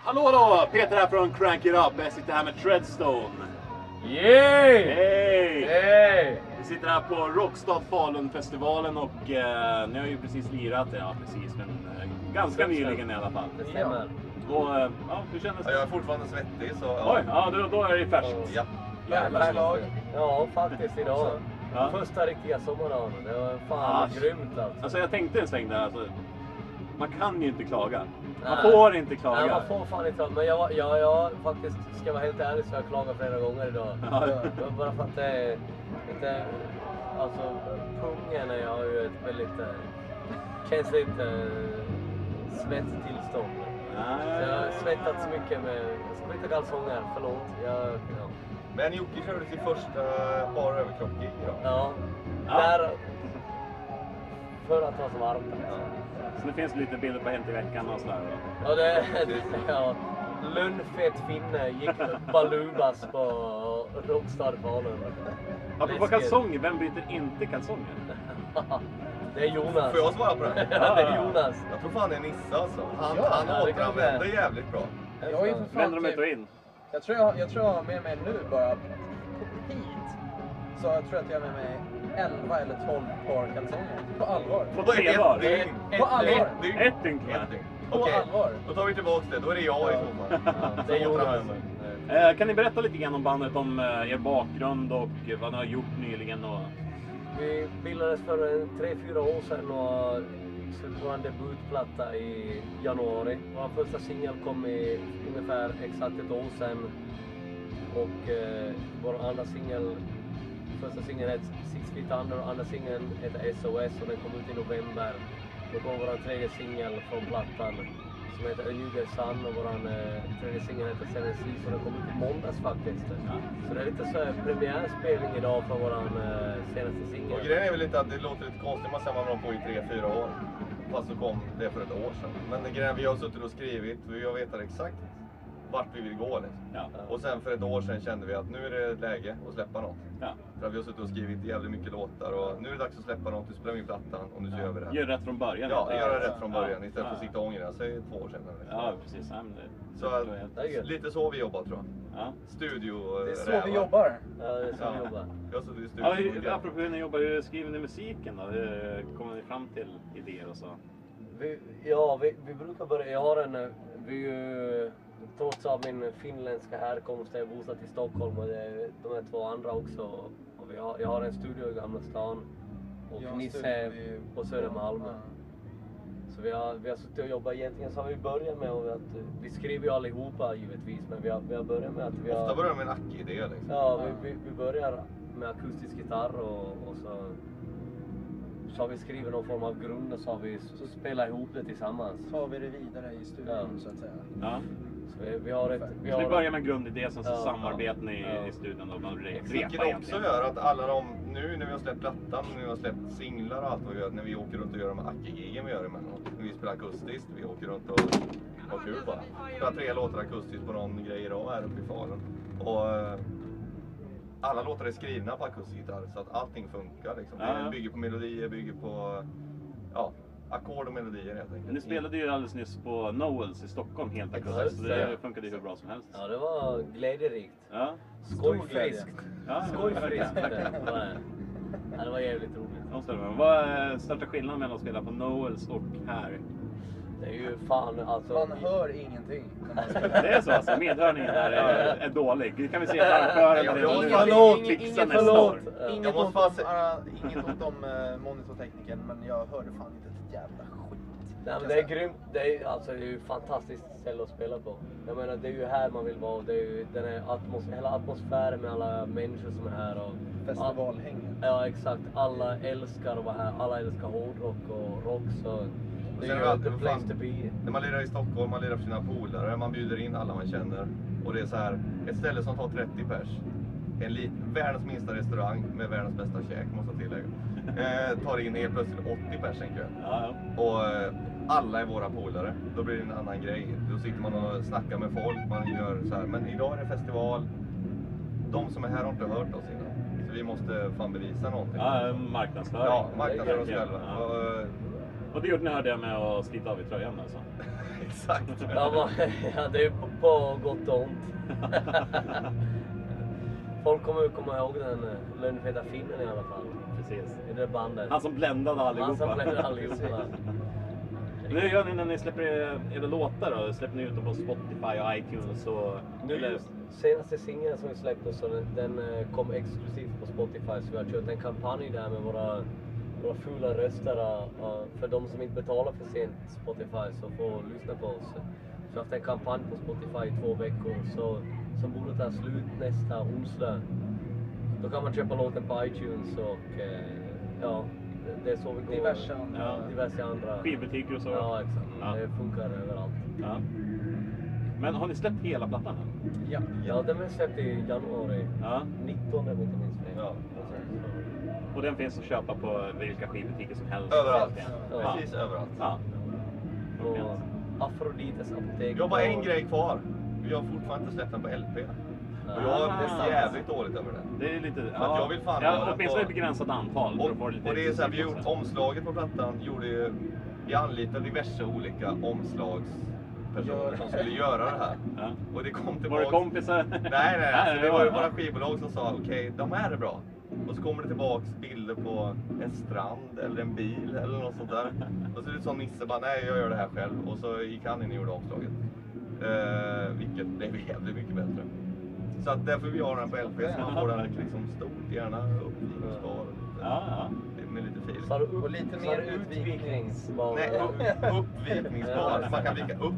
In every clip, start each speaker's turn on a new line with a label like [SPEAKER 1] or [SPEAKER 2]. [SPEAKER 1] Hallå då! Peter här från Crank It Up. Jag sitter här med Treadstone.
[SPEAKER 2] Yay!
[SPEAKER 1] Hej!
[SPEAKER 2] Yay!
[SPEAKER 1] Vi sitter här på Rockstad Falun-festivalen och eh, ni har ju precis lirat, ja precis, men eh, ganska nyligen i alla fall.
[SPEAKER 2] Det stämmer.
[SPEAKER 1] Och eh, ja, hur kändes
[SPEAKER 3] Ja,
[SPEAKER 1] det?
[SPEAKER 3] jag är fortfarande svettig så...
[SPEAKER 1] Oj, ja då, då är det färskt.
[SPEAKER 3] Ja.
[SPEAKER 1] Jävlar, så
[SPEAKER 2] lag.
[SPEAKER 1] måste det.
[SPEAKER 2] Ja, faktiskt idag.
[SPEAKER 1] Ja.
[SPEAKER 2] Första riktiga sommardagen. Det var
[SPEAKER 1] Ah,
[SPEAKER 2] fan grymt alltså.
[SPEAKER 1] Alltså jag tänkte en sväng där, alltså, man kan ju inte klaga. Man
[SPEAKER 2] Nej.
[SPEAKER 1] får inte
[SPEAKER 2] Nej,
[SPEAKER 1] klaga.
[SPEAKER 2] man får fan inte Men jag, jag, jag faktiskt, ska jag vara helt ärlig, så har jag klagat flera gånger idag.
[SPEAKER 1] Ja.
[SPEAKER 2] Jag- Bara för att det är lite... Alltså, pungen är jag ju ett väldigt... eh, Känns lite eh, svettstillstånd. Så
[SPEAKER 1] Nej.
[SPEAKER 2] jag har svettats mycket med... Jag ska byta kalsonger, förlåt. Jag, ja.
[SPEAKER 3] Men Jocke körde sitt första eh, bara överkropp-gig idag.
[SPEAKER 2] Ja.
[SPEAKER 1] Ja.
[SPEAKER 2] Där... För att det var så varmt.
[SPEAKER 3] Ja.
[SPEAKER 1] Så det finns lite bilder på Hänt i veckan och sådär. va?
[SPEAKER 2] Och det... Ja, Lönnfet finne gick balubas på Rockstar Falun.
[SPEAKER 1] Apropå
[SPEAKER 2] Läskigt.
[SPEAKER 1] kalsonger, vem byter inte kalsonger?
[SPEAKER 2] Det är Jonas.
[SPEAKER 3] Får jag svara på det?
[SPEAKER 2] Ja, det är Jonas.
[SPEAKER 3] Jag tror fan det är Nisse alltså. Han,
[SPEAKER 4] Ja,
[SPEAKER 3] han
[SPEAKER 2] ja, det kanske
[SPEAKER 3] återanvänder
[SPEAKER 2] är.
[SPEAKER 3] jävligt bra.
[SPEAKER 4] Jag har ju för fan
[SPEAKER 1] Vänder de ut och
[SPEAKER 4] typ,
[SPEAKER 1] in?
[SPEAKER 4] jag, tror jag, jag tror jag har med mig nu bara hit. Så jag tror att jag har med mig 11 eller 12 par kalsonger. På allvar.
[SPEAKER 1] På tre dagar?
[SPEAKER 3] dygn.
[SPEAKER 4] På allvar.
[SPEAKER 3] Ett dygn.
[SPEAKER 1] Ett dygn kvar.
[SPEAKER 3] Ett dygn.
[SPEAKER 4] På
[SPEAKER 3] Okej,
[SPEAKER 4] allvar.
[SPEAKER 3] då tar vi tillbaks det. Då är det jag i så fall.
[SPEAKER 2] Ja, det är
[SPEAKER 3] Som
[SPEAKER 2] Jonas.
[SPEAKER 3] återanvänder.
[SPEAKER 1] Eh, Kan ni berätta lite grann om bandet, om eh, er bakgrund och eh, vad ni har gjort nyligen? Och...
[SPEAKER 2] Vi bildades för en tre fyra år sedan och släppte vår debutplatta i januari. Vår första singel kom i ungefär exakt ett år sedan. Och eh, vår andra singel, första singeln hette Six Feet Under och andra singeln hette SOS och den kom ut i november. Då kom vår tredje singel från plattan som heter A New Day Sun och vår eh, tredje singel heter Seven Seas och den kom ut i måndags faktiskt. Så det är lite så här premiärspelning idag för vår eh, senaste
[SPEAKER 3] Och
[SPEAKER 2] singel.
[SPEAKER 3] grejen är väl lite att det låter lite konstigt. Man säger man har på i tre, fyra år. Fast så kom det för ett år sedan. Men det grejen är, vi har suttit och skrivit. Vi har vetat exakt vart vi vill gå. Liksom.
[SPEAKER 1] Ja,
[SPEAKER 3] Och sen för ett år sedan kände vi att nu är det läge att släppa något.
[SPEAKER 1] ja.
[SPEAKER 3] För att vi har suttit och skrivit jävligt mycket låtar och nu är det dags att släppa något. Du spelar in plattan och nu gör vi det
[SPEAKER 1] Gör
[SPEAKER 3] här.
[SPEAKER 1] rätt från början.
[SPEAKER 3] Ja,
[SPEAKER 1] helt
[SPEAKER 3] göra
[SPEAKER 1] enkelt.
[SPEAKER 3] rätt från början
[SPEAKER 1] Ja.
[SPEAKER 3] istället för att
[SPEAKER 1] Ja.
[SPEAKER 3] sitta och ångra sig två år senare. liksom.
[SPEAKER 1] Ja, precis. Ja, men det-
[SPEAKER 3] Så
[SPEAKER 1] det var helt-
[SPEAKER 2] Det är
[SPEAKER 3] att,
[SPEAKER 2] gött.
[SPEAKER 3] lite så vi jobbar tror jag.
[SPEAKER 1] ja.
[SPEAKER 3] Studio
[SPEAKER 4] Det är så
[SPEAKER 3] rävar.
[SPEAKER 4] vi jobbar.
[SPEAKER 2] Ja, det är så vi
[SPEAKER 3] Ja.
[SPEAKER 2] jobbar.
[SPEAKER 3] Jag har suttit i studion.
[SPEAKER 1] Ja,
[SPEAKER 3] och
[SPEAKER 1] hur,
[SPEAKER 3] grävt.
[SPEAKER 1] apropå hur ni jobbar, hur skriver ni musiken då? Hur kommer ni fram till idéer och så?
[SPEAKER 2] Vi, ja, vi, vi brukar börja... Jag har en... eh, Vi, eh, trots av min finländska härkomst är jag bosatt i Stockholm och det är de här två andra också. Och vi har, jag har en studio i Gamla stan och
[SPEAKER 4] Jag har
[SPEAKER 2] Nisse
[SPEAKER 4] studion
[SPEAKER 2] är
[SPEAKER 4] i-
[SPEAKER 2] på Södermalm.
[SPEAKER 4] Ja.
[SPEAKER 2] Så vi har, vi har suttit och jobbat. Egentligen så har vi börjat med att eh, vi skriver ju allihopa givetvis, men vi har, vi har börjat med att vi har...
[SPEAKER 3] Ofta börjar de med en ackidé liksom.
[SPEAKER 2] Ja, vi, vi, vi börjar med akustisk gitarr och, och så, så har vi skrivit någon form av grund och så har vi så spelat ihop det tillsammans.
[SPEAKER 4] Tar vi det vidare i studion
[SPEAKER 2] Ja.
[SPEAKER 4] så att säga.
[SPEAKER 1] Ja.
[SPEAKER 2] Så vi, vi har ett... Vi
[SPEAKER 1] Så
[SPEAKER 2] har
[SPEAKER 1] ni börjar med en grundidé, sen så
[SPEAKER 2] Ja,
[SPEAKER 1] samarbetar ni
[SPEAKER 2] ja.
[SPEAKER 1] i studion och man re-
[SPEAKER 3] Vilket
[SPEAKER 1] repar
[SPEAKER 3] också
[SPEAKER 1] egentligen.
[SPEAKER 3] gör att alla de, nu när vi har släppt plattan, nu när vi har släppt singlar och allt vad vi gör, när vi åker runt och gör de här acke-gigen vi gör emellanåt. När vi spelar akustiskt, vi åker runt och har kul bara. Spelar tre låtar akustiskt på någon grej idag här uppe i Falun. Och eh, alla låtar är skrivna på akustisk gitarr så att allting funkar liksom.
[SPEAKER 1] Ja, ja.
[SPEAKER 3] Det bygger på melodier, bygger på ja, ackord och melodier helt enkelt.
[SPEAKER 1] Ni spelade ju alldeles nyss på Noels i Stockholm helt
[SPEAKER 3] Exakt.
[SPEAKER 1] akustiskt, så det funkade ju hur bra som helst.
[SPEAKER 2] Ja, det var glädjerikt.
[SPEAKER 1] Ja.
[SPEAKER 4] Stor glädje.
[SPEAKER 2] Skojfriskt.
[SPEAKER 1] Ja.
[SPEAKER 2] Skojfriskt.
[SPEAKER 1] Tack.
[SPEAKER 2] det var det. Ja, det var jävligt roligt.
[SPEAKER 1] Jag måste hålla med. Vad är största skillnaden mellan att spela på Noels och här?
[SPEAKER 2] Det är ju fan alltså...
[SPEAKER 4] Man hör ingenting. när man spelar.
[SPEAKER 1] Det är så alltså, medhörningen här är, är dålig. Det kan vi se på arrangören
[SPEAKER 3] Ja,
[SPEAKER 1] redan nu.
[SPEAKER 3] ingen-
[SPEAKER 4] Förlåt,
[SPEAKER 1] Fixa
[SPEAKER 4] ingen-
[SPEAKER 1] nästa
[SPEAKER 2] förlåt.
[SPEAKER 1] år.
[SPEAKER 4] Inget
[SPEAKER 3] Jag måste
[SPEAKER 4] ont
[SPEAKER 3] bara
[SPEAKER 4] om,
[SPEAKER 3] säga-
[SPEAKER 4] ah, inget ont om eh, monitortekniken men jag hörde fan inte ett jävla skit.
[SPEAKER 2] Nej, men det är grymt. Det är, ju- alltså, det är ju ett fantastiskt ställe att spela på. Jag menar, det är ju här man vill vara. och Det är ju den här atmos hela atmosfären med alla människor som är här. Och,
[SPEAKER 4] Festivalhängen.
[SPEAKER 2] Ja, exakt. Alla älskar att vara här. Alla älskar hårdrock och rock. Så det
[SPEAKER 3] sen
[SPEAKER 2] är
[SPEAKER 3] är
[SPEAKER 2] ju
[SPEAKER 3] det alltid
[SPEAKER 2] the
[SPEAKER 3] för
[SPEAKER 2] place
[SPEAKER 3] fan-
[SPEAKER 2] to be.
[SPEAKER 3] När man lirar i Stockholm, man lirar för sina polare, man bjuder in alla man känner. Och det är så här, ett ställe som tar 30 pers. En lit, världens minsta restaurang med världens bästa käk, måste jag tillägga. Eh, tar in helt plötsligt 80 pers i en kö.
[SPEAKER 1] Ja,
[SPEAKER 3] Och eh, alla är våra polare. Då blir det en annan grej. Då sitter man och snackar med folk, man gör så här. Men idag är det festival. De som är här har inte hört oss innan. Så vi måste fan bevisa någonting.
[SPEAKER 1] ja, marknadsföring.
[SPEAKER 3] Ja, marknadsför oss
[SPEAKER 1] Ja.
[SPEAKER 3] själva. Och, eh,
[SPEAKER 1] Och det gjorde ni hörde jag med att slita av i tröjan alltså.
[SPEAKER 3] Exakt.
[SPEAKER 2] Ja, man, ja, det är på, på gott och ont. Folk kommer ju komma ihåg den eh, lönnfeta finnen i alla fall.
[SPEAKER 1] Precis.
[SPEAKER 2] I det bandet.
[SPEAKER 1] Han som bländade allihopa.
[SPEAKER 2] Han som blev allihopa.
[SPEAKER 1] Nu gör ni när ni släpper era låtar då? Släpper ni ut dem på Spotify och iTunes och...
[SPEAKER 2] Nu
[SPEAKER 1] eller-
[SPEAKER 2] just senaste singeln som vi släppte så den, den eh, kom exklusivt på Spotify så vi har kört en kampanj där med våra, våra fula röster. eh, eh, För de som inte betalar för sent Spotify så får lyssna på oss. Så vi har haft en kampanj på Spotify i två veckor så, som borde ta slut nästa onsdag. Då kan man köpa låten på iTunes och eh, ja, det- det är så vi går.
[SPEAKER 4] Diverse andra.
[SPEAKER 1] Ja.
[SPEAKER 2] Diverse andra.
[SPEAKER 1] Skivbutiker och så.
[SPEAKER 2] Ja, exakt.
[SPEAKER 1] Ja.
[SPEAKER 2] Det funkar överallt.
[SPEAKER 1] Ja. Men har ni släppt hela plattan än?
[SPEAKER 4] Ja.
[SPEAKER 2] Ja, den blev släppt i januari.
[SPEAKER 1] Ja.
[SPEAKER 2] 19 om jag inte minns fel.
[SPEAKER 3] Ja.
[SPEAKER 1] Och den finns att köpa på vilka skivbutiker som helst?
[SPEAKER 3] Överallt.
[SPEAKER 1] Ja.
[SPEAKER 3] Precis överallt.
[SPEAKER 1] Ja.
[SPEAKER 2] Och Afrodites apotek.
[SPEAKER 3] Vi har bara en
[SPEAKER 2] och-
[SPEAKER 3] grej kvar. Vi har fortfarande inte släppt den på LP. Och jag
[SPEAKER 1] Ja.
[SPEAKER 3] är jävligt dåligt över det.
[SPEAKER 1] Ah, Det är lite...
[SPEAKER 3] att jag vill fan ha
[SPEAKER 1] ja,
[SPEAKER 3] den
[SPEAKER 1] åtminstone
[SPEAKER 3] på-
[SPEAKER 1] ett begränsat antal.
[SPEAKER 3] Och,
[SPEAKER 1] för att få lite
[SPEAKER 3] och det är så här, vi
[SPEAKER 1] exklusivt
[SPEAKER 3] gjorde
[SPEAKER 1] också.
[SPEAKER 3] omslaget på plattan gjorde ju, vi anlitade diverse olika omslagspersoner som skulle göra det här.
[SPEAKER 1] Ja.
[SPEAKER 3] Och det kom
[SPEAKER 1] Var
[SPEAKER 3] tillbaka.
[SPEAKER 1] det kompisar?
[SPEAKER 3] Nej, nej, alltså, det
[SPEAKER 1] det
[SPEAKER 3] var ju
[SPEAKER 1] var-
[SPEAKER 3] våra skivbolag som sa okej, de här är bra. Och så kommer det tillbaks bilder på en strand eller en bil eller något sånt där. Och så är det som Nisse bara, nej jag gör det här själv. Och så gick han in och gjorde omslaget. Eh, vilket blev jävligt mycket bättre. Så att därför vi har den på LP så man får den liksom stort, gärna uppgivningsbar.
[SPEAKER 1] Ja,
[SPEAKER 3] Med lite fil.
[SPEAKER 2] Sa du upp-
[SPEAKER 4] Och lite
[SPEAKER 2] sa
[SPEAKER 4] mer
[SPEAKER 2] du
[SPEAKER 4] utviknings-
[SPEAKER 2] var-
[SPEAKER 3] Nej, upp- uppvikningsbar. Man kan vika upp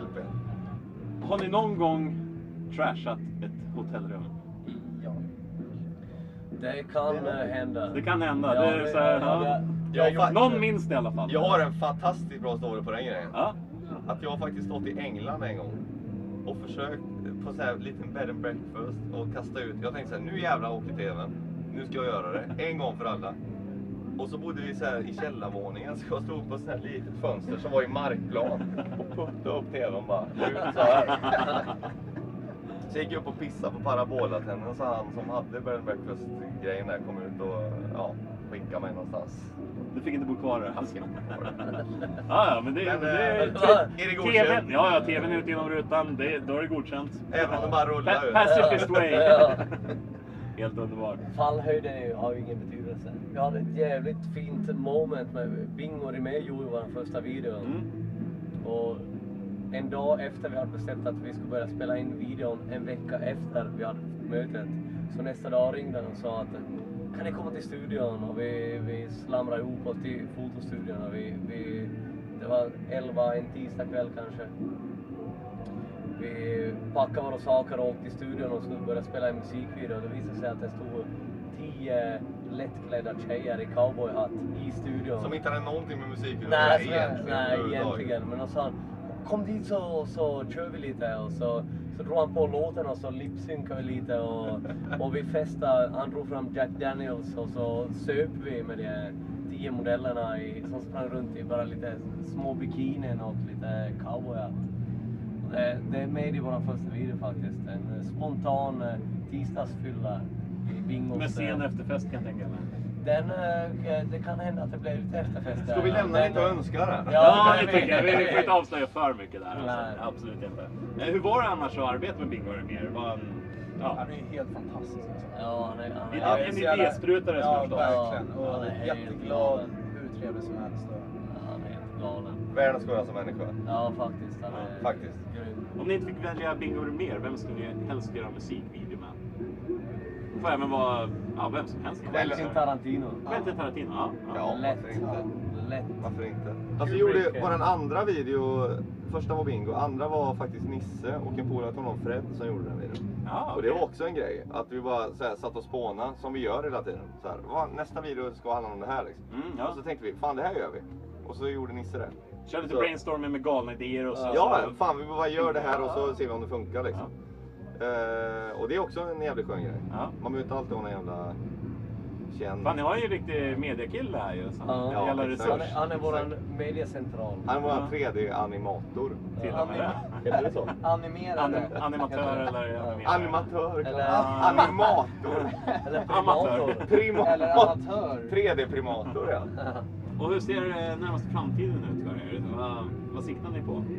[SPEAKER 3] LP.
[SPEAKER 1] ja. Har ni någon gång trashat ett hotellrum?
[SPEAKER 4] ja.
[SPEAKER 2] Det kan eh, hända.
[SPEAKER 1] Det kan hända.
[SPEAKER 2] Ja,
[SPEAKER 1] det är
[SPEAKER 2] det-
[SPEAKER 1] så här,
[SPEAKER 2] ja,
[SPEAKER 1] ja.
[SPEAKER 2] det-
[SPEAKER 3] Jag har fa-
[SPEAKER 1] Någon minns det i alla fall.
[SPEAKER 3] Jag har en fantastiskt bra story på den grejen.
[SPEAKER 1] Ja.
[SPEAKER 3] Att jag har faktiskt stått i England en gång och försökt på så här liten bed and breakfast och kasta ut. Jag tänkte så här, nu jävlar åker tvn. Nu ska jag göra det. En gång för alla. Och så bodde vi så här i källarvåningen så jag stod på ett sånt här litet fönster som var i markplan och puttade upp tvn bara. Ut så här. Så gick jag upp och pissade på parabolatänden så han som hade bed and breakfast grejen där kom ut och ja, skickade mig någonstans.
[SPEAKER 1] Du fick inte bo kvar där.
[SPEAKER 3] Halsen på det.
[SPEAKER 1] Ja, ja, men det,
[SPEAKER 3] Men,
[SPEAKER 1] det är...
[SPEAKER 3] eh, är det godkänt?
[SPEAKER 1] TVn, ja, ja, tvn är ute genom rutan. Det, då är det godkänt.
[SPEAKER 3] Även om det bara rullar
[SPEAKER 1] Pa-
[SPEAKER 3] ut.
[SPEAKER 1] pacifist way.
[SPEAKER 2] Ja.
[SPEAKER 1] Helt underbart.
[SPEAKER 2] Fallhöjden är ju- har ju ingen betydelse. Vi hade ett jävligt fint moment med Bing och Rimér gjorde vår första video.
[SPEAKER 1] Mm.
[SPEAKER 2] Och en dag efter vi hade bestämt att vi skulle börja spela in videon, en vecka efter vi hade mötet, så nästa dag ringde han och sa att kan ni komma till studion? Och vi, vi slamrade ihop oss till fotostudion. Och vi, vi, det var 11, en tisdag kväll kanske. Vi packade våra saker och åkte till studion och skulle börja spela en musikvideo. Det visade sig att det stod tio lättklädda tjejer i cowboyhatt i studion.
[SPEAKER 3] Som inte hade någonting med musiken att göra
[SPEAKER 2] Nej, så,
[SPEAKER 3] egentligen.
[SPEAKER 2] nej
[SPEAKER 3] överhuvudtaget.
[SPEAKER 2] egentligen. Men då sa han, kom dit så, så kör vi lite. Och så, så drog han på låten och så lipsynkade vi lite. Och, och vi festade. Han drog fram Jack Daniels och så söp vi med de tio modellerna i, som sprang runt i bara lite små bikinin och lite cowboyhatt. Det, det är med i vår första video faktiskt. En eh, spontan eh, tisdagsfylla i Bingos.
[SPEAKER 1] Med sen
[SPEAKER 2] eh,
[SPEAKER 1] efterfest kan jag tänka mig.
[SPEAKER 2] Den, eh, det kan hända att det blir lite efterfest där.
[SPEAKER 3] Ska vi lämna
[SPEAKER 2] Men- eh,
[SPEAKER 3] lite och önska det?
[SPEAKER 1] Ja,
[SPEAKER 2] Ja,
[SPEAKER 1] det
[SPEAKER 2] det
[SPEAKER 1] tycker jag.
[SPEAKER 2] vet
[SPEAKER 1] Vi
[SPEAKER 2] jag.
[SPEAKER 1] får inte avslöja för mycket där.
[SPEAKER 2] Nej.
[SPEAKER 1] Alltså. Absolut inte. Eh, Hur var det annars att arbeta med Bingo Rimér? Var en, ja,
[SPEAKER 4] Han är ju helt fantastisk. Alltså.
[SPEAKER 2] Ja, han är, han är,
[SPEAKER 1] Ja,
[SPEAKER 4] Jag är
[SPEAKER 1] en
[SPEAKER 4] så jävla-
[SPEAKER 1] idésprutare som
[SPEAKER 4] Ja,
[SPEAKER 1] förstås.
[SPEAKER 4] verkligen.
[SPEAKER 2] Ja,
[SPEAKER 4] Och
[SPEAKER 2] han är
[SPEAKER 4] jätteglad.
[SPEAKER 2] helt galen.
[SPEAKER 4] Hur trevlig som helst. och-
[SPEAKER 2] han är helt galen.
[SPEAKER 3] Världens godaste människa.
[SPEAKER 2] Ja, faktiskt. Han är
[SPEAKER 3] Faktiskt.
[SPEAKER 2] grym.
[SPEAKER 1] Om ni inte fick välja Bingo Rimér, vem skulle ni helst göra musikvideo med? Det får även vara ja, vem som helst.
[SPEAKER 2] Quentin Tarantino.
[SPEAKER 1] Quentin Tarantino, ja.
[SPEAKER 3] Ja,
[SPEAKER 2] Lätt.
[SPEAKER 3] varför inte?
[SPEAKER 2] Lätt.
[SPEAKER 3] Varför inte? Alltså, vi
[SPEAKER 2] Kubrick,
[SPEAKER 3] gjorde
[SPEAKER 2] eh.
[SPEAKER 3] vår andra video, första var Bingo, andra var faktiskt Nisse och en polare till honom, Fred, som gjorde den videon.
[SPEAKER 1] ja
[SPEAKER 3] Och det var
[SPEAKER 1] okej.
[SPEAKER 3] också en grej, att vi bara så här, satt och spånade, som vi gör hela tiden. Så här, "Va, nästa video ska handla om det här liksom.
[SPEAKER 1] Mm, ja.
[SPEAKER 3] Och så tänkte vi, fan det här gör vi. Och så gjorde Nisse det.
[SPEAKER 1] Kör lite
[SPEAKER 3] Så-
[SPEAKER 1] brainstorming med galna idéer och så.
[SPEAKER 3] Ja,
[SPEAKER 1] så-
[SPEAKER 3] fan vi bara gör det här och så ser vi om det funkar liksom. Eh, och det är också en jävligt skön grej.
[SPEAKER 1] Ja.
[SPEAKER 3] Man behöver inte alltid ha någon jävla känd...
[SPEAKER 1] Fan, ni har ju en riktig mediakille här ju. Som
[SPEAKER 2] Ja,
[SPEAKER 1] ja, jävla
[SPEAKER 3] exakt.
[SPEAKER 2] Han är,
[SPEAKER 1] resurs.
[SPEAKER 2] han är våran mediacentral.
[SPEAKER 3] Han var
[SPEAKER 1] Ja.
[SPEAKER 3] 3D-animator.
[SPEAKER 1] Till och med det.
[SPEAKER 3] Heter det så?
[SPEAKER 4] Animerade.
[SPEAKER 1] Anim- animatör eller animerare.
[SPEAKER 3] Animatör.
[SPEAKER 4] Eller-
[SPEAKER 3] Animator.
[SPEAKER 2] Eller
[SPEAKER 1] Amatör.
[SPEAKER 2] primator.
[SPEAKER 4] Eller
[SPEAKER 3] Primator.
[SPEAKER 4] amatör.
[SPEAKER 3] 3D-primator ja.
[SPEAKER 1] Och hur ser eh, närmaste framtiden ut för er? Vad, vad siktar ni på?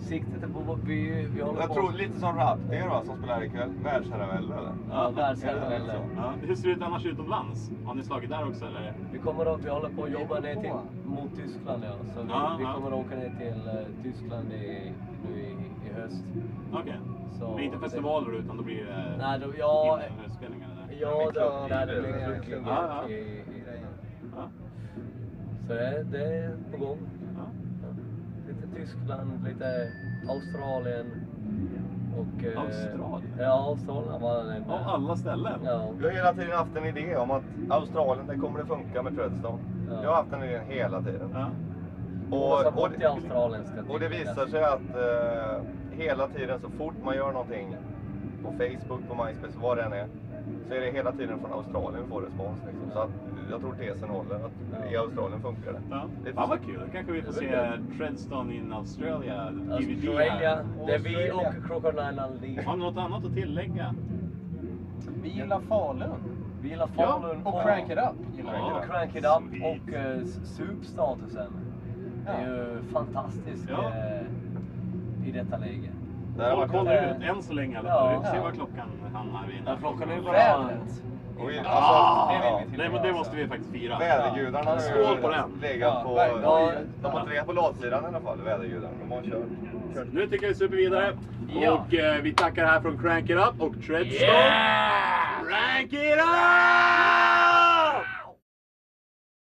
[SPEAKER 2] Siktet är på vår by. Vi håller
[SPEAKER 3] Jag
[SPEAKER 2] på.
[SPEAKER 3] tror lite som Raptiger va, som spelar ikväll. Världsherravälde eller?
[SPEAKER 2] Ja,
[SPEAKER 3] Är det
[SPEAKER 2] världsherravälde.
[SPEAKER 3] så?
[SPEAKER 1] Ja, hur ser det ut annars utomlands? Har ni slagit där också eller?
[SPEAKER 2] Vi kommer att, vi håller på att jobba ner
[SPEAKER 4] på.
[SPEAKER 2] till, mot Tyskland ja. Så vi,
[SPEAKER 1] Ja,
[SPEAKER 2] vi
[SPEAKER 1] ja.
[SPEAKER 2] kommer att åka ner till eh, Tyskland i, nu i, i höst.
[SPEAKER 1] Okej.
[SPEAKER 2] Så
[SPEAKER 1] Det är inte
[SPEAKER 2] det-
[SPEAKER 1] festivaler utan då blir det
[SPEAKER 2] Nej, då, ja,
[SPEAKER 1] inspelningar där.
[SPEAKER 2] ja då,
[SPEAKER 3] klubb-
[SPEAKER 2] där det
[SPEAKER 3] klubb-
[SPEAKER 2] blir en klubb
[SPEAKER 1] Ja, ja.
[SPEAKER 2] i, i grejen.
[SPEAKER 1] Ja,
[SPEAKER 2] Så det, det är på gång.
[SPEAKER 1] ja.
[SPEAKER 2] Ja. Lite Tyskland, lite Australien och... eh,
[SPEAKER 1] Australien?
[SPEAKER 2] Ja, Australien var det.
[SPEAKER 1] Av alla ställen?
[SPEAKER 2] Ja.
[SPEAKER 3] Vi har hela tiden haft en idé om att Australien, där kommer det funka med Treadstone.
[SPEAKER 2] Ja.
[SPEAKER 3] Jag har haft den idén hela tiden.
[SPEAKER 1] Ja.
[SPEAKER 2] Och,
[SPEAKER 3] Och, och,
[SPEAKER 2] till Australien ska
[SPEAKER 3] och det visar sig att eh, hela tiden så fort man gör någonting på Facebook, på MySpace, vad det än är. Så är det hela tiden från Australien vi får respons. Liksom. Så att, jag tror tesen håller. Att I Australien funkar det.
[SPEAKER 1] Ja.
[SPEAKER 3] Det är
[SPEAKER 1] Fan vad
[SPEAKER 3] så-
[SPEAKER 1] kul, kanske vi får
[SPEAKER 2] Det
[SPEAKER 1] se
[SPEAKER 2] är
[SPEAKER 1] Treadstone in Australia, DVD
[SPEAKER 2] Alltså, Australia,
[SPEAKER 1] här.
[SPEAKER 2] det är vi
[SPEAKER 4] Australia.
[SPEAKER 2] och Crocodile Unleashed.
[SPEAKER 1] Har ni något annat att tillägga?
[SPEAKER 4] Vi gillar Falun.
[SPEAKER 2] Vi gillar
[SPEAKER 1] Ja,
[SPEAKER 2] Falun
[SPEAKER 4] Och Crank It Up gillar
[SPEAKER 1] Ja.
[SPEAKER 4] vi.
[SPEAKER 2] Och Crank It Up och eh, Soup-statusen. Det är ju fantastisk
[SPEAKER 1] Ja.
[SPEAKER 2] eh, i detta läge.
[SPEAKER 3] Det här
[SPEAKER 1] Kolla,
[SPEAKER 3] har varit-
[SPEAKER 1] kolla
[SPEAKER 2] eh,
[SPEAKER 1] ut än så länge i alla
[SPEAKER 2] ja.
[SPEAKER 1] fall. Vi får se vad klockan hamnar vid.
[SPEAKER 2] Ja, klockan är ju bara-
[SPEAKER 4] Vädret.
[SPEAKER 3] Och vi-
[SPEAKER 1] Ah!
[SPEAKER 3] alltså,
[SPEAKER 4] Det vill vi
[SPEAKER 3] ja.
[SPEAKER 4] till.
[SPEAKER 1] Nej men det måste vi faktiskt fira.
[SPEAKER 3] Vädergudarna har ju
[SPEAKER 1] Skål på den.
[SPEAKER 3] legat på...
[SPEAKER 4] Ja, verkligen.
[SPEAKER 2] Ja.
[SPEAKER 3] De har inte legat på latsidan i alla fall, vädergudarna. De har kört. kört.
[SPEAKER 1] Nu tycker jag vi super vidare.
[SPEAKER 2] Ja.
[SPEAKER 1] Och eh, vi tackar här från Crank It Up och Treadstone. Crank It Up!